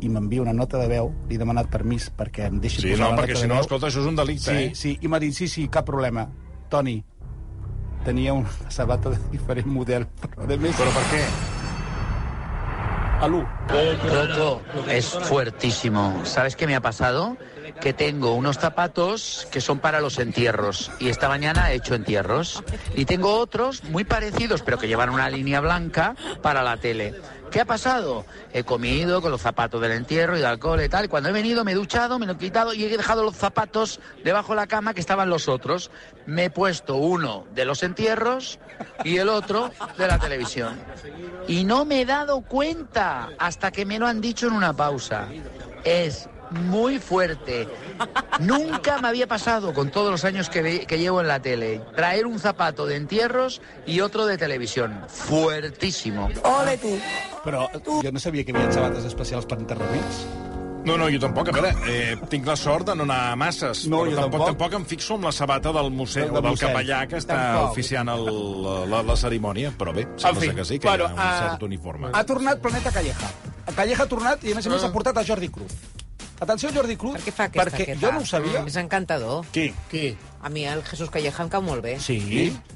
[SPEAKER 4] I m'envia una nota de veu, li he demanat permís perquè em deixi
[SPEAKER 3] Sí,
[SPEAKER 4] posar
[SPEAKER 3] no,
[SPEAKER 4] la nota
[SPEAKER 3] perquè
[SPEAKER 4] de
[SPEAKER 3] si no,
[SPEAKER 4] veu.
[SPEAKER 3] escolta, això és un delicte,
[SPEAKER 4] Sí,
[SPEAKER 3] eh?
[SPEAKER 4] sí, i m'ha dit, sí, sí, cap problema. Toni, tenia una sabata de diferent model, però de més... Però per què? A l'1.
[SPEAKER 11] Rocco, es fuertísimo. ¿Sabes qué me ha pasado? Que tengo unos zapatos que son para los entierros y esta mañana he hecho entierros. Y tengo otros muy parecidos, pero que llevan una línea blanca para la tele. ¿Qué ha pasado? He comido con los zapatos del entierro y de alcohol y tal. y Cuando he venido me he duchado, me lo he quitado y he dejado los zapatos debajo de la cama que estaban los otros. Me he puesto uno de los entierros y el otro de la televisión. Y no me he dado cuenta hasta que me lo han dicho en una pausa. Es muy fuerte. Nunca me había pasado con todos los años que, ve- que llevo en la tele traer un zapato de entierros y otro de televisión. Fuertísimo.
[SPEAKER 4] Però jo no sabia que hi havia sabates especials per enterraments.
[SPEAKER 3] No, no, jo tampoc. A veure, eh, tinc la sort de no anar a masses,
[SPEAKER 4] No,
[SPEAKER 3] però
[SPEAKER 4] jo
[SPEAKER 3] tampoc,
[SPEAKER 4] tampoc.
[SPEAKER 3] tampoc em fixo amb la sabata del museu,
[SPEAKER 4] Del
[SPEAKER 3] del, del
[SPEAKER 4] mossèn.
[SPEAKER 3] capellà que està
[SPEAKER 4] Tampoc.
[SPEAKER 3] oficiant el, la, la cerimònia, però bé, sembla ser que sí, que bueno, hi ha un cert uniforme.
[SPEAKER 4] Ha tornat Planeta Calleja. Calleja ha tornat i, a més a més, ha portat a Jordi Cruz. Atenció, Jordi Cruz,
[SPEAKER 2] Per què fa aquesta
[SPEAKER 4] perquè
[SPEAKER 2] aquesta?
[SPEAKER 4] jo no ho sabia.
[SPEAKER 2] És encantador.
[SPEAKER 3] Qui?
[SPEAKER 7] qui?
[SPEAKER 2] A mi el Jesús Calleja em cau molt bé.
[SPEAKER 4] Sí.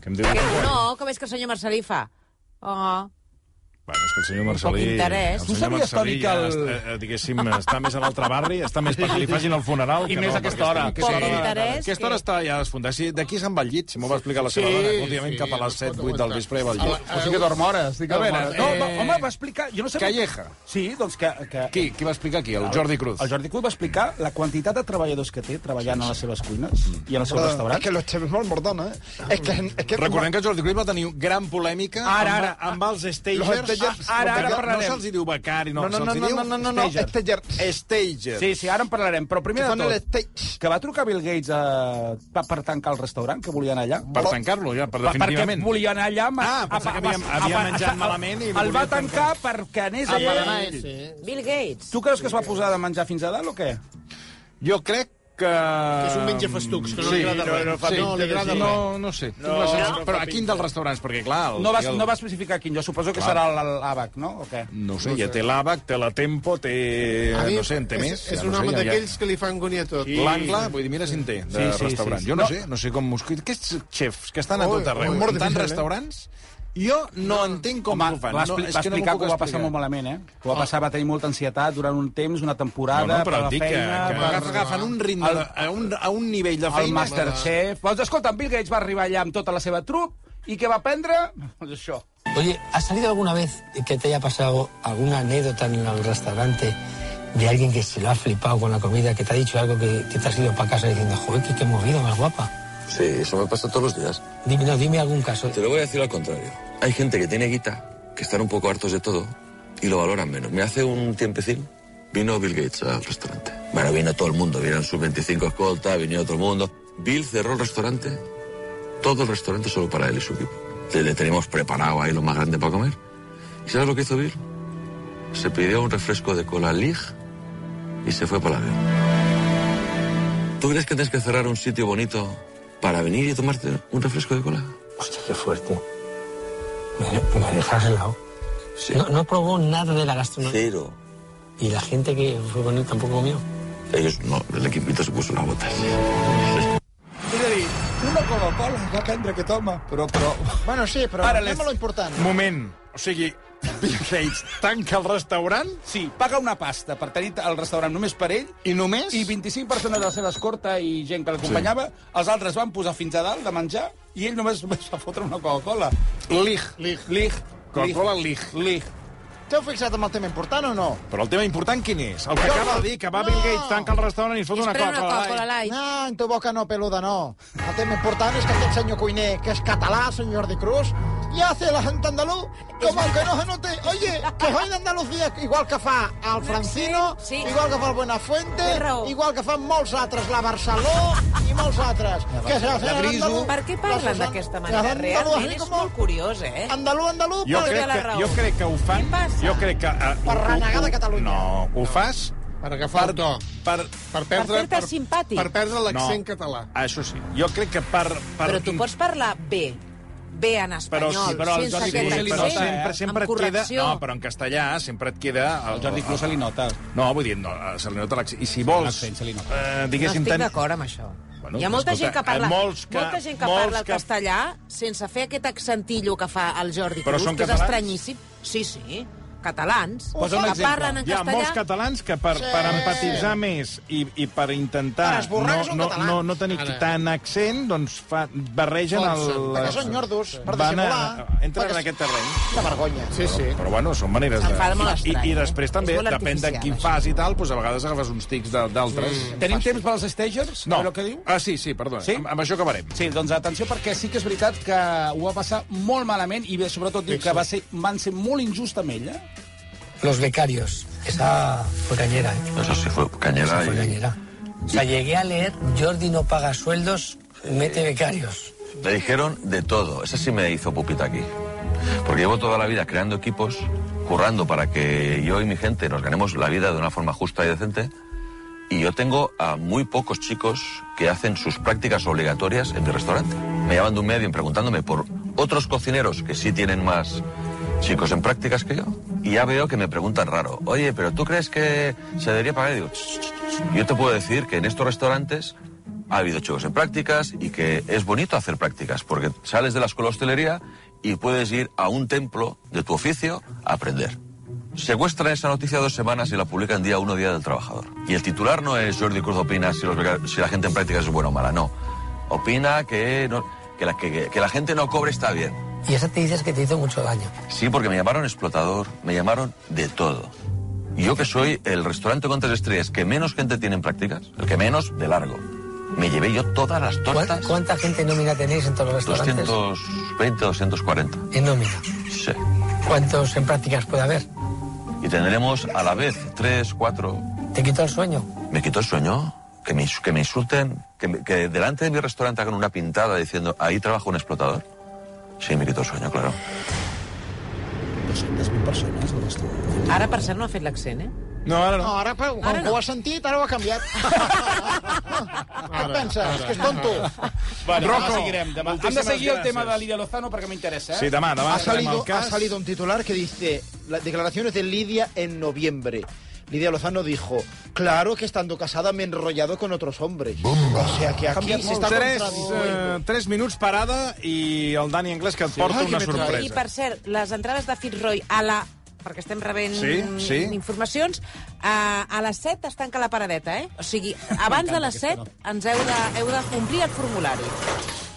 [SPEAKER 3] Què em diu?
[SPEAKER 2] Que, no, que veig que el senyor Marcelí fa... Oh,
[SPEAKER 3] Bueno, és que el senyor Marcelí...
[SPEAKER 2] interès.
[SPEAKER 3] El
[SPEAKER 4] Tu
[SPEAKER 3] senyor
[SPEAKER 4] sabies,
[SPEAKER 3] Marcelí
[SPEAKER 4] Toni,
[SPEAKER 3] ja,
[SPEAKER 4] que el-
[SPEAKER 3] està, eh, diguéssim, està més a l'altre barri, està més perquè li facin el funeral...
[SPEAKER 4] I
[SPEAKER 3] que
[SPEAKER 4] més
[SPEAKER 3] no,
[SPEAKER 4] a aquesta
[SPEAKER 3] perquè
[SPEAKER 4] hora,
[SPEAKER 3] estigui-
[SPEAKER 4] que
[SPEAKER 2] Poc
[SPEAKER 3] Sí.
[SPEAKER 2] interès
[SPEAKER 3] A aquesta hora
[SPEAKER 2] que-
[SPEAKER 3] està ja desfundat. Sí, D'aquí se'n va al llit, si m'ho va explicar la seva
[SPEAKER 7] Sí,
[SPEAKER 3] dona, últimament
[SPEAKER 7] sí,
[SPEAKER 3] cap a les
[SPEAKER 7] no
[SPEAKER 3] 7,
[SPEAKER 7] pot
[SPEAKER 3] 8 del
[SPEAKER 7] aguantar.
[SPEAKER 3] vespre ja va al
[SPEAKER 7] A
[SPEAKER 3] llit.
[SPEAKER 7] la- O sigui que dorm
[SPEAKER 4] hores, estic
[SPEAKER 3] a veure,
[SPEAKER 4] No,
[SPEAKER 3] eh,
[SPEAKER 4] va, home, va explicar... Jo no sabia...
[SPEAKER 3] Calleja.
[SPEAKER 4] Sí, doncs que... que...
[SPEAKER 3] Qui? Qui va explicar aquí? El Jordi Cruz.
[SPEAKER 4] El Jordi Cruz va explicar la quantitat de treballadors que té treballant a les seves cuines i en els seus
[SPEAKER 5] Es
[SPEAKER 4] restaurants.
[SPEAKER 5] Ah, que los cheves molt mordona, eh? Es que... Es que
[SPEAKER 3] Recordem que el Jordi Cruyff va tenir gran polèmica
[SPEAKER 4] Ara,
[SPEAKER 3] amb-
[SPEAKER 4] ara.
[SPEAKER 3] amb els stagers
[SPEAKER 5] Los
[SPEAKER 3] Stagers,
[SPEAKER 4] Ah, Ara, ara
[SPEAKER 3] no,
[SPEAKER 4] parlarem.
[SPEAKER 3] No se'ls hi diu becari, no,
[SPEAKER 4] No, no,
[SPEAKER 3] se'ls
[SPEAKER 4] no,
[SPEAKER 3] hi
[SPEAKER 4] no,
[SPEAKER 3] diu
[SPEAKER 4] no, no, no, no,
[SPEAKER 3] stager. Stager.
[SPEAKER 4] Sí, sí, ara en parlarem, però primer
[SPEAKER 3] Que fan
[SPEAKER 4] de
[SPEAKER 3] el
[SPEAKER 4] tot, que va trucar Bill Gates a, pa, per tancar el restaurant, que volia anar allà.
[SPEAKER 3] Per tancar-lo, ja, per
[SPEAKER 4] Pa-
[SPEAKER 3] definitivament.
[SPEAKER 4] Perquè volia anar allà... ma-
[SPEAKER 3] Ah, pensava que havia- havia menjat malament i li
[SPEAKER 4] El va
[SPEAKER 3] volia
[SPEAKER 4] tancar perquè anés
[SPEAKER 3] Ah,
[SPEAKER 4] allà.
[SPEAKER 3] per anar ell.
[SPEAKER 2] Bill Gates.
[SPEAKER 4] Tu creus que es va posar de menjar fins a dalt o què?
[SPEAKER 3] Jo crec que... Que
[SPEAKER 7] és un menjafastucs, que no li agrada res. Sí, no li agrada
[SPEAKER 3] no,
[SPEAKER 7] res.
[SPEAKER 3] No sé.
[SPEAKER 7] No,
[SPEAKER 3] No, no,
[SPEAKER 7] no fa
[SPEAKER 3] però a quin
[SPEAKER 7] pinta.
[SPEAKER 3] dels restaurants? Perquè, clar... El,
[SPEAKER 4] No vas,
[SPEAKER 3] el,
[SPEAKER 4] no vas especificar quin, jo suposo que
[SPEAKER 3] Clar.
[SPEAKER 4] serà l- l'àbac, no? O què?
[SPEAKER 3] No ho sé, ja té l'àbac, té la Tempo, té... Eh, No sé, en té
[SPEAKER 7] és,
[SPEAKER 3] més.
[SPEAKER 7] És
[SPEAKER 3] ja
[SPEAKER 7] un
[SPEAKER 3] no sé,
[SPEAKER 7] home
[SPEAKER 3] ja- ja-
[SPEAKER 7] d'aquells que li fan agonia tot.
[SPEAKER 3] L'angle, vull dir, mira si en té, de
[SPEAKER 4] Sí, sí,
[SPEAKER 3] restaurant.
[SPEAKER 4] sí, sí.
[SPEAKER 3] Jo no,
[SPEAKER 4] No.
[SPEAKER 3] sé, no sé com... us- Aquests xefs que estan a
[SPEAKER 7] Ui,
[SPEAKER 3] tot arreu,
[SPEAKER 7] ui,
[SPEAKER 3] en
[SPEAKER 7] molt
[SPEAKER 3] tants
[SPEAKER 7] difícil, eh?
[SPEAKER 3] restaurants, jo no, entenc com
[SPEAKER 4] Home,
[SPEAKER 3] ho fan.
[SPEAKER 4] va,
[SPEAKER 3] No,
[SPEAKER 4] expli
[SPEAKER 3] és
[SPEAKER 4] va
[SPEAKER 3] que no m'ho
[SPEAKER 4] explicar
[SPEAKER 3] puc
[SPEAKER 4] que ho va passar
[SPEAKER 3] explicar. Ah.
[SPEAKER 4] molt malament, eh? Que ho va passar, va tenir molta ansietat durant un temps, una temporada,
[SPEAKER 3] no, no, però
[SPEAKER 4] per la
[SPEAKER 3] et dic
[SPEAKER 4] feina...
[SPEAKER 3] que, que
[SPEAKER 4] per-
[SPEAKER 3] agafen- agafen un ritme,
[SPEAKER 4] El-
[SPEAKER 3] de- a, un, a un nivell de
[SPEAKER 4] el
[SPEAKER 3] feina...
[SPEAKER 4] Masterchef. Doncs escolta, en Bill Gates va arribar allà amb tota la seva trup i què va aprendre? Doncs això.
[SPEAKER 12] Oye, ¿ha salido alguna vez que te haya pasado alguna anécdota en el restaurante de alguien que se lo ha flipado con la comida, que te ha dicho algo que, que te has ido para casa diciendo, joder, qué, qué movido, más guapa?
[SPEAKER 13] Sí, eso me pasa todos los días.
[SPEAKER 12] Dime, no, dime algún caso.
[SPEAKER 13] Te lo voy a decir al contrario. Hay gente que tiene guita, que están un poco hartos de todo y lo valoran menos. Me hace un tiempecín vino Bill Gates al restaurante. Bueno, vino todo el mundo, vinieron sus 25 escoltas, vino todo el mundo. Bill cerró el restaurante, todo el restaurante solo para él y su equipo. Le, le teníamos preparado ahí lo más grande para comer. ¿Y sabes lo que hizo Bill? Se pidió un refresco de cola Lig y se fue para el avión. ¿Tú crees que tienes que cerrar un sitio bonito para venir y tomarte un refresco de cola?
[SPEAKER 12] Hostia, qué fuerte. Me, me dejas helado. No, no probó nada de la gastronomía.
[SPEAKER 13] Cero.
[SPEAKER 12] Y la gente que fue con él tampoco comió.
[SPEAKER 13] Ellos no, el equipito se puso las botas.
[SPEAKER 4] És a dir, una Coca-Cola va aprendre que toma, però... però...
[SPEAKER 5] Bueno, sí, però
[SPEAKER 3] Ara
[SPEAKER 5] anem
[SPEAKER 3] les-
[SPEAKER 5] a lo important.
[SPEAKER 3] Moment. O sigui, Bill Gates tanca el restaurant
[SPEAKER 4] Sí, paga una pasta per tenir el restaurant només per ell.
[SPEAKER 3] I només?
[SPEAKER 4] I 25 persones de la seva escorta i gent que l'acompanyava. Els altres van posar fins a dalt de menjar i ell només, només va fotre una Coca-Cola.
[SPEAKER 3] Lig.
[SPEAKER 7] Lig.
[SPEAKER 4] Lig.
[SPEAKER 3] Coca-Cola Lig.
[SPEAKER 4] Lig.
[SPEAKER 5] T'heu fixat en el tema important o no?
[SPEAKER 3] Però el tema important quin és? El que acaba de dir, que va Bill Gates, tanca el restaurant i es fot una
[SPEAKER 2] Espera una
[SPEAKER 3] coca.
[SPEAKER 2] Coca-Cola Light.
[SPEAKER 5] No, en tu boca no, peluda, no. El tema important és que aquest senyor cuiner, que és català, senyor Jordi Cruz, i hace la gente andaluz com el que no se note. Oye, que hoy de Andalucía, igual que fa el Francino,
[SPEAKER 2] Sí, sí.
[SPEAKER 5] igual que fa el Buenafuente,
[SPEAKER 2] Té raó.
[SPEAKER 5] igual que fan molts altres, la Barceló i molts altres. Que se hacen andaluz-
[SPEAKER 2] Per què
[SPEAKER 5] la
[SPEAKER 2] parlen
[SPEAKER 5] Susan-
[SPEAKER 2] d'aquesta
[SPEAKER 5] la
[SPEAKER 2] manera?
[SPEAKER 5] Susan
[SPEAKER 2] Realment
[SPEAKER 5] Andaluz,
[SPEAKER 2] és
[SPEAKER 5] així com-
[SPEAKER 2] molt curiós, eh?
[SPEAKER 5] Andalú, andalú,
[SPEAKER 3] Jo
[SPEAKER 5] però-
[SPEAKER 3] crec,
[SPEAKER 2] té la
[SPEAKER 3] que,
[SPEAKER 2] raó.
[SPEAKER 3] jo crec que ho fan...
[SPEAKER 2] Què passa?
[SPEAKER 3] Jo crec que... eh,
[SPEAKER 5] Per
[SPEAKER 3] ho- ho-
[SPEAKER 5] renegar de
[SPEAKER 3] ho-
[SPEAKER 5] Catalunya.
[SPEAKER 3] No, ho fas
[SPEAKER 7] Per agafar el to.
[SPEAKER 3] per...
[SPEAKER 7] Per perdre...
[SPEAKER 2] fer-te simpàtic.
[SPEAKER 7] Per perdre l'accent
[SPEAKER 3] No. Ah,
[SPEAKER 7] català.
[SPEAKER 3] Això sí. Jo crec que per... per
[SPEAKER 2] Però tu pots parlar bé, bé en
[SPEAKER 3] Però,
[SPEAKER 2] espanyol,
[SPEAKER 3] sí, però el
[SPEAKER 2] sense
[SPEAKER 3] Jordi
[SPEAKER 2] aquest
[SPEAKER 3] Cruz
[SPEAKER 4] se
[SPEAKER 3] li
[SPEAKER 4] li
[SPEAKER 3] nota,
[SPEAKER 2] accent, eh?
[SPEAKER 3] sempre, sempre
[SPEAKER 2] amb
[SPEAKER 3] et queda...
[SPEAKER 2] correcció.
[SPEAKER 3] No, però en castellà sempre et queda...
[SPEAKER 4] El
[SPEAKER 5] Oh.
[SPEAKER 4] Jordi Cruz se li nota.
[SPEAKER 3] No, vull dir, no, eh, se li nota l'accent. I si vols,
[SPEAKER 4] L'accent se li nota.
[SPEAKER 3] eh,
[SPEAKER 2] No
[SPEAKER 3] diguéssim...
[SPEAKER 2] estic
[SPEAKER 3] ten-
[SPEAKER 2] d'acord amb això.
[SPEAKER 3] Bueno,
[SPEAKER 2] Hi ha molta
[SPEAKER 3] escolta,
[SPEAKER 2] gent que parla,
[SPEAKER 3] eh, molts que-
[SPEAKER 2] molta gent que
[SPEAKER 3] molts
[SPEAKER 2] parla el
[SPEAKER 3] que-
[SPEAKER 2] castellà sense fer aquest accentillo que fa el Jordi
[SPEAKER 3] Però
[SPEAKER 2] Cruz,
[SPEAKER 3] són
[SPEAKER 2] que és
[SPEAKER 3] catalans?
[SPEAKER 2] estranyíssim. Sí, sí, catalans,
[SPEAKER 4] Posa un
[SPEAKER 2] que
[SPEAKER 4] exemple.
[SPEAKER 2] parlen en
[SPEAKER 3] Hi ha molts
[SPEAKER 2] castellà...
[SPEAKER 3] catalans que per, per empatitzar més i, i per intentar
[SPEAKER 5] Per esborrar que
[SPEAKER 3] no,
[SPEAKER 5] són
[SPEAKER 3] no,
[SPEAKER 5] catalans.
[SPEAKER 3] no, no tenir
[SPEAKER 7] Ara.
[SPEAKER 3] tant accent, doncs fa, barregen el...
[SPEAKER 7] Forcen,
[SPEAKER 3] la-
[SPEAKER 5] perquè són nyordos, per
[SPEAKER 3] Van a-
[SPEAKER 5] dissimular,
[SPEAKER 3] Entren
[SPEAKER 5] perquè-
[SPEAKER 3] en aquest terreny.
[SPEAKER 5] Una vergonya.
[SPEAKER 7] Sí, sí.
[SPEAKER 3] Però bueno, són maneres
[SPEAKER 2] Em
[SPEAKER 3] de...
[SPEAKER 2] fa molt
[SPEAKER 3] I-
[SPEAKER 2] estrany,
[SPEAKER 3] I, i
[SPEAKER 2] eh?
[SPEAKER 3] després també,
[SPEAKER 2] És molt
[SPEAKER 3] depèn de qui
[SPEAKER 2] artificial,
[SPEAKER 3] fas i tal, doncs a vegades agafes uns tics de- d'altres. Mm.
[SPEAKER 4] Tenim temps pels stagers?
[SPEAKER 3] No.
[SPEAKER 4] A veure què diu?
[SPEAKER 3] Ah, sí, sí, perdona.
[SPEAKER 4] Sí?
[SPEAKER 3] Amb, amb això acabarem.
[SPEAKER 4] Sí, doncs atenció, perquè sí que és veritat que ho va passar molt malament i bé, sobretot diu que va ser, van ser molt injust amb ella.
[SPEAKER 12] Los becarios. Esa fue cañera, ¿eh?
[SPEAKER 13] Eso sí fue
[SPEAKER 12] Esa
[SPEAKER 13] cañera.
[SPEAKER 12] fue
[SPEAKER 13] Y
[SPEAKER 12] cañera. O sea, llegué a leer, Jordi no paga sueldos, mete becarios.
[SPEAKER 13] le dijeron de todo. Esa sí me hizo pupita aquí. Porque llevo toda la vida creando equipos, currando para que yo y mi gente nos ganemos la vida de una forma justa y decente. Y yo tengo a muy pocos chicos que hacen sus prácticas obligatorias en mi restaurante. Me llaman de un medio preguntándome por otros cocineros que sí tienen más chicos en prácticas que yo. Y ya veo que me preguntan raro. Oye, pero ¿tú crees que se debería pagar? Y digo, "Ch, ch, ch". yo te puedo decir que en estos restaurantes ha habido chicos en prácticas y que es bonito hacer prácticas porque sales de la escuela de hostelería y puedes ir a un templo de tu oficio a aprender. Secuestran esa noticia dos semanas y la publican día uno, Día del Trabajador. Y el titular no es Jordi Cruz opina si, los beca- si la gente en prácticas es buena o mala, no. Opina que, no- que, la, que- que la gente no cobre está bien.
[SPEAKER 12] Y esa te dices que te hizo mucho daño.
[SPEAKER 13] Sí, porque me llamaron explotador, me llamaron de todo. Y Yo que soy el restaurante con tres estrellas que menos gente tiene en prácticas, el que menos de largo. Me llevé yo todas las
[SPEAKER 12] ¿Cuánta,
[SPEAKER 13] tortas,
[SPEAKER 12] cuánta gente nómina tenéis en todos los restaurantes?
[SPEAKER 13] 220, 240.
[SPEAKER 12] En nómina.
[SPEAKER 13] Sí.
[SPEAKER 12] ¿Cuántos en prácticas puede haber?
[SPEAKER 13] Y tendremos a la vez tres, cuatro.
[SPEAKER 12] ¿Te quitó el sueño?
[SPEAKER 13] ¿Me quitó el sueño? Que me, ins- que me insulten, que, me- que delante de mi restaurante hagan una pintada diciendo ahí trabaja un explotador. Sí, me quitó el sueño, claro.
[SPEAKER 4] 200.000 persones al restaurant.
[SPEAKER 2] Ara, per cert, no ha fet l'accent, eh?
[SPEAKER 3] No, ara
[SPEAKER 5] No, ara,
[SPEAKER 8] pues,
[SPEAKER 5] però, com
[SPEAKER 2] Ara
[SPEAKER 5] que
[SPEAKER 2] no.
[SPEAKER 5] ho has sentit, ara ho ha canviat. Què et penses? Que és tonto?
[SPEAKER 3] Bueno,
[SPEAKER 4] Rocco,
[SPEAKER 3] demà
[SPEAKER 4] hem
[SPEAKER 3] seguirem, demà.
[SPEAKER 4] de
[SPEAKER 3] Moltíssimes
[SPEAKER 4] seguir el
[SPEAKER 3] gràcies.
[SPEAKER 4] tema de Lidia Lozano perquè m'interessa. Eh?
[SPEAKER 3] Sí, demà, demà.
[SPEAKER 8] ha, salido,
[SPEAKER 3] el cas.
[SPEAKER 8] ha salido un titular que dice las declaraciones de Lidia en noviembre. Lidia Lozano dijo, claro que estando casada me he enrollado con otros hombres. O sea que aquí
[SPEAKER 3] Aquí
[SPEAKER 8] se está
[SPEAKER 3] tres,
[SPEAKER 8] contradiciendo.
[SPEAKER 3] eh, tres minuts parada i el Dani Anglès que et porta
[SPEAKER 8] Ai, que
[SPEAKER 3] una
[SPEAKER 8] m'he
[SPEAKER 3] sorpresa.
[SPEAKER 2] I, per cert, les entrades de Fitzroy a la perquè estem rebent
[SPEAKER 3] Sí, sí.
[SPEAKER 2] informacions, a, a les 7 es tanca la paradeta, eh? O sigui, abans de les 7 ens heu de, heu de complir el formulari.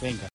[SPEAKER 4] Vinga.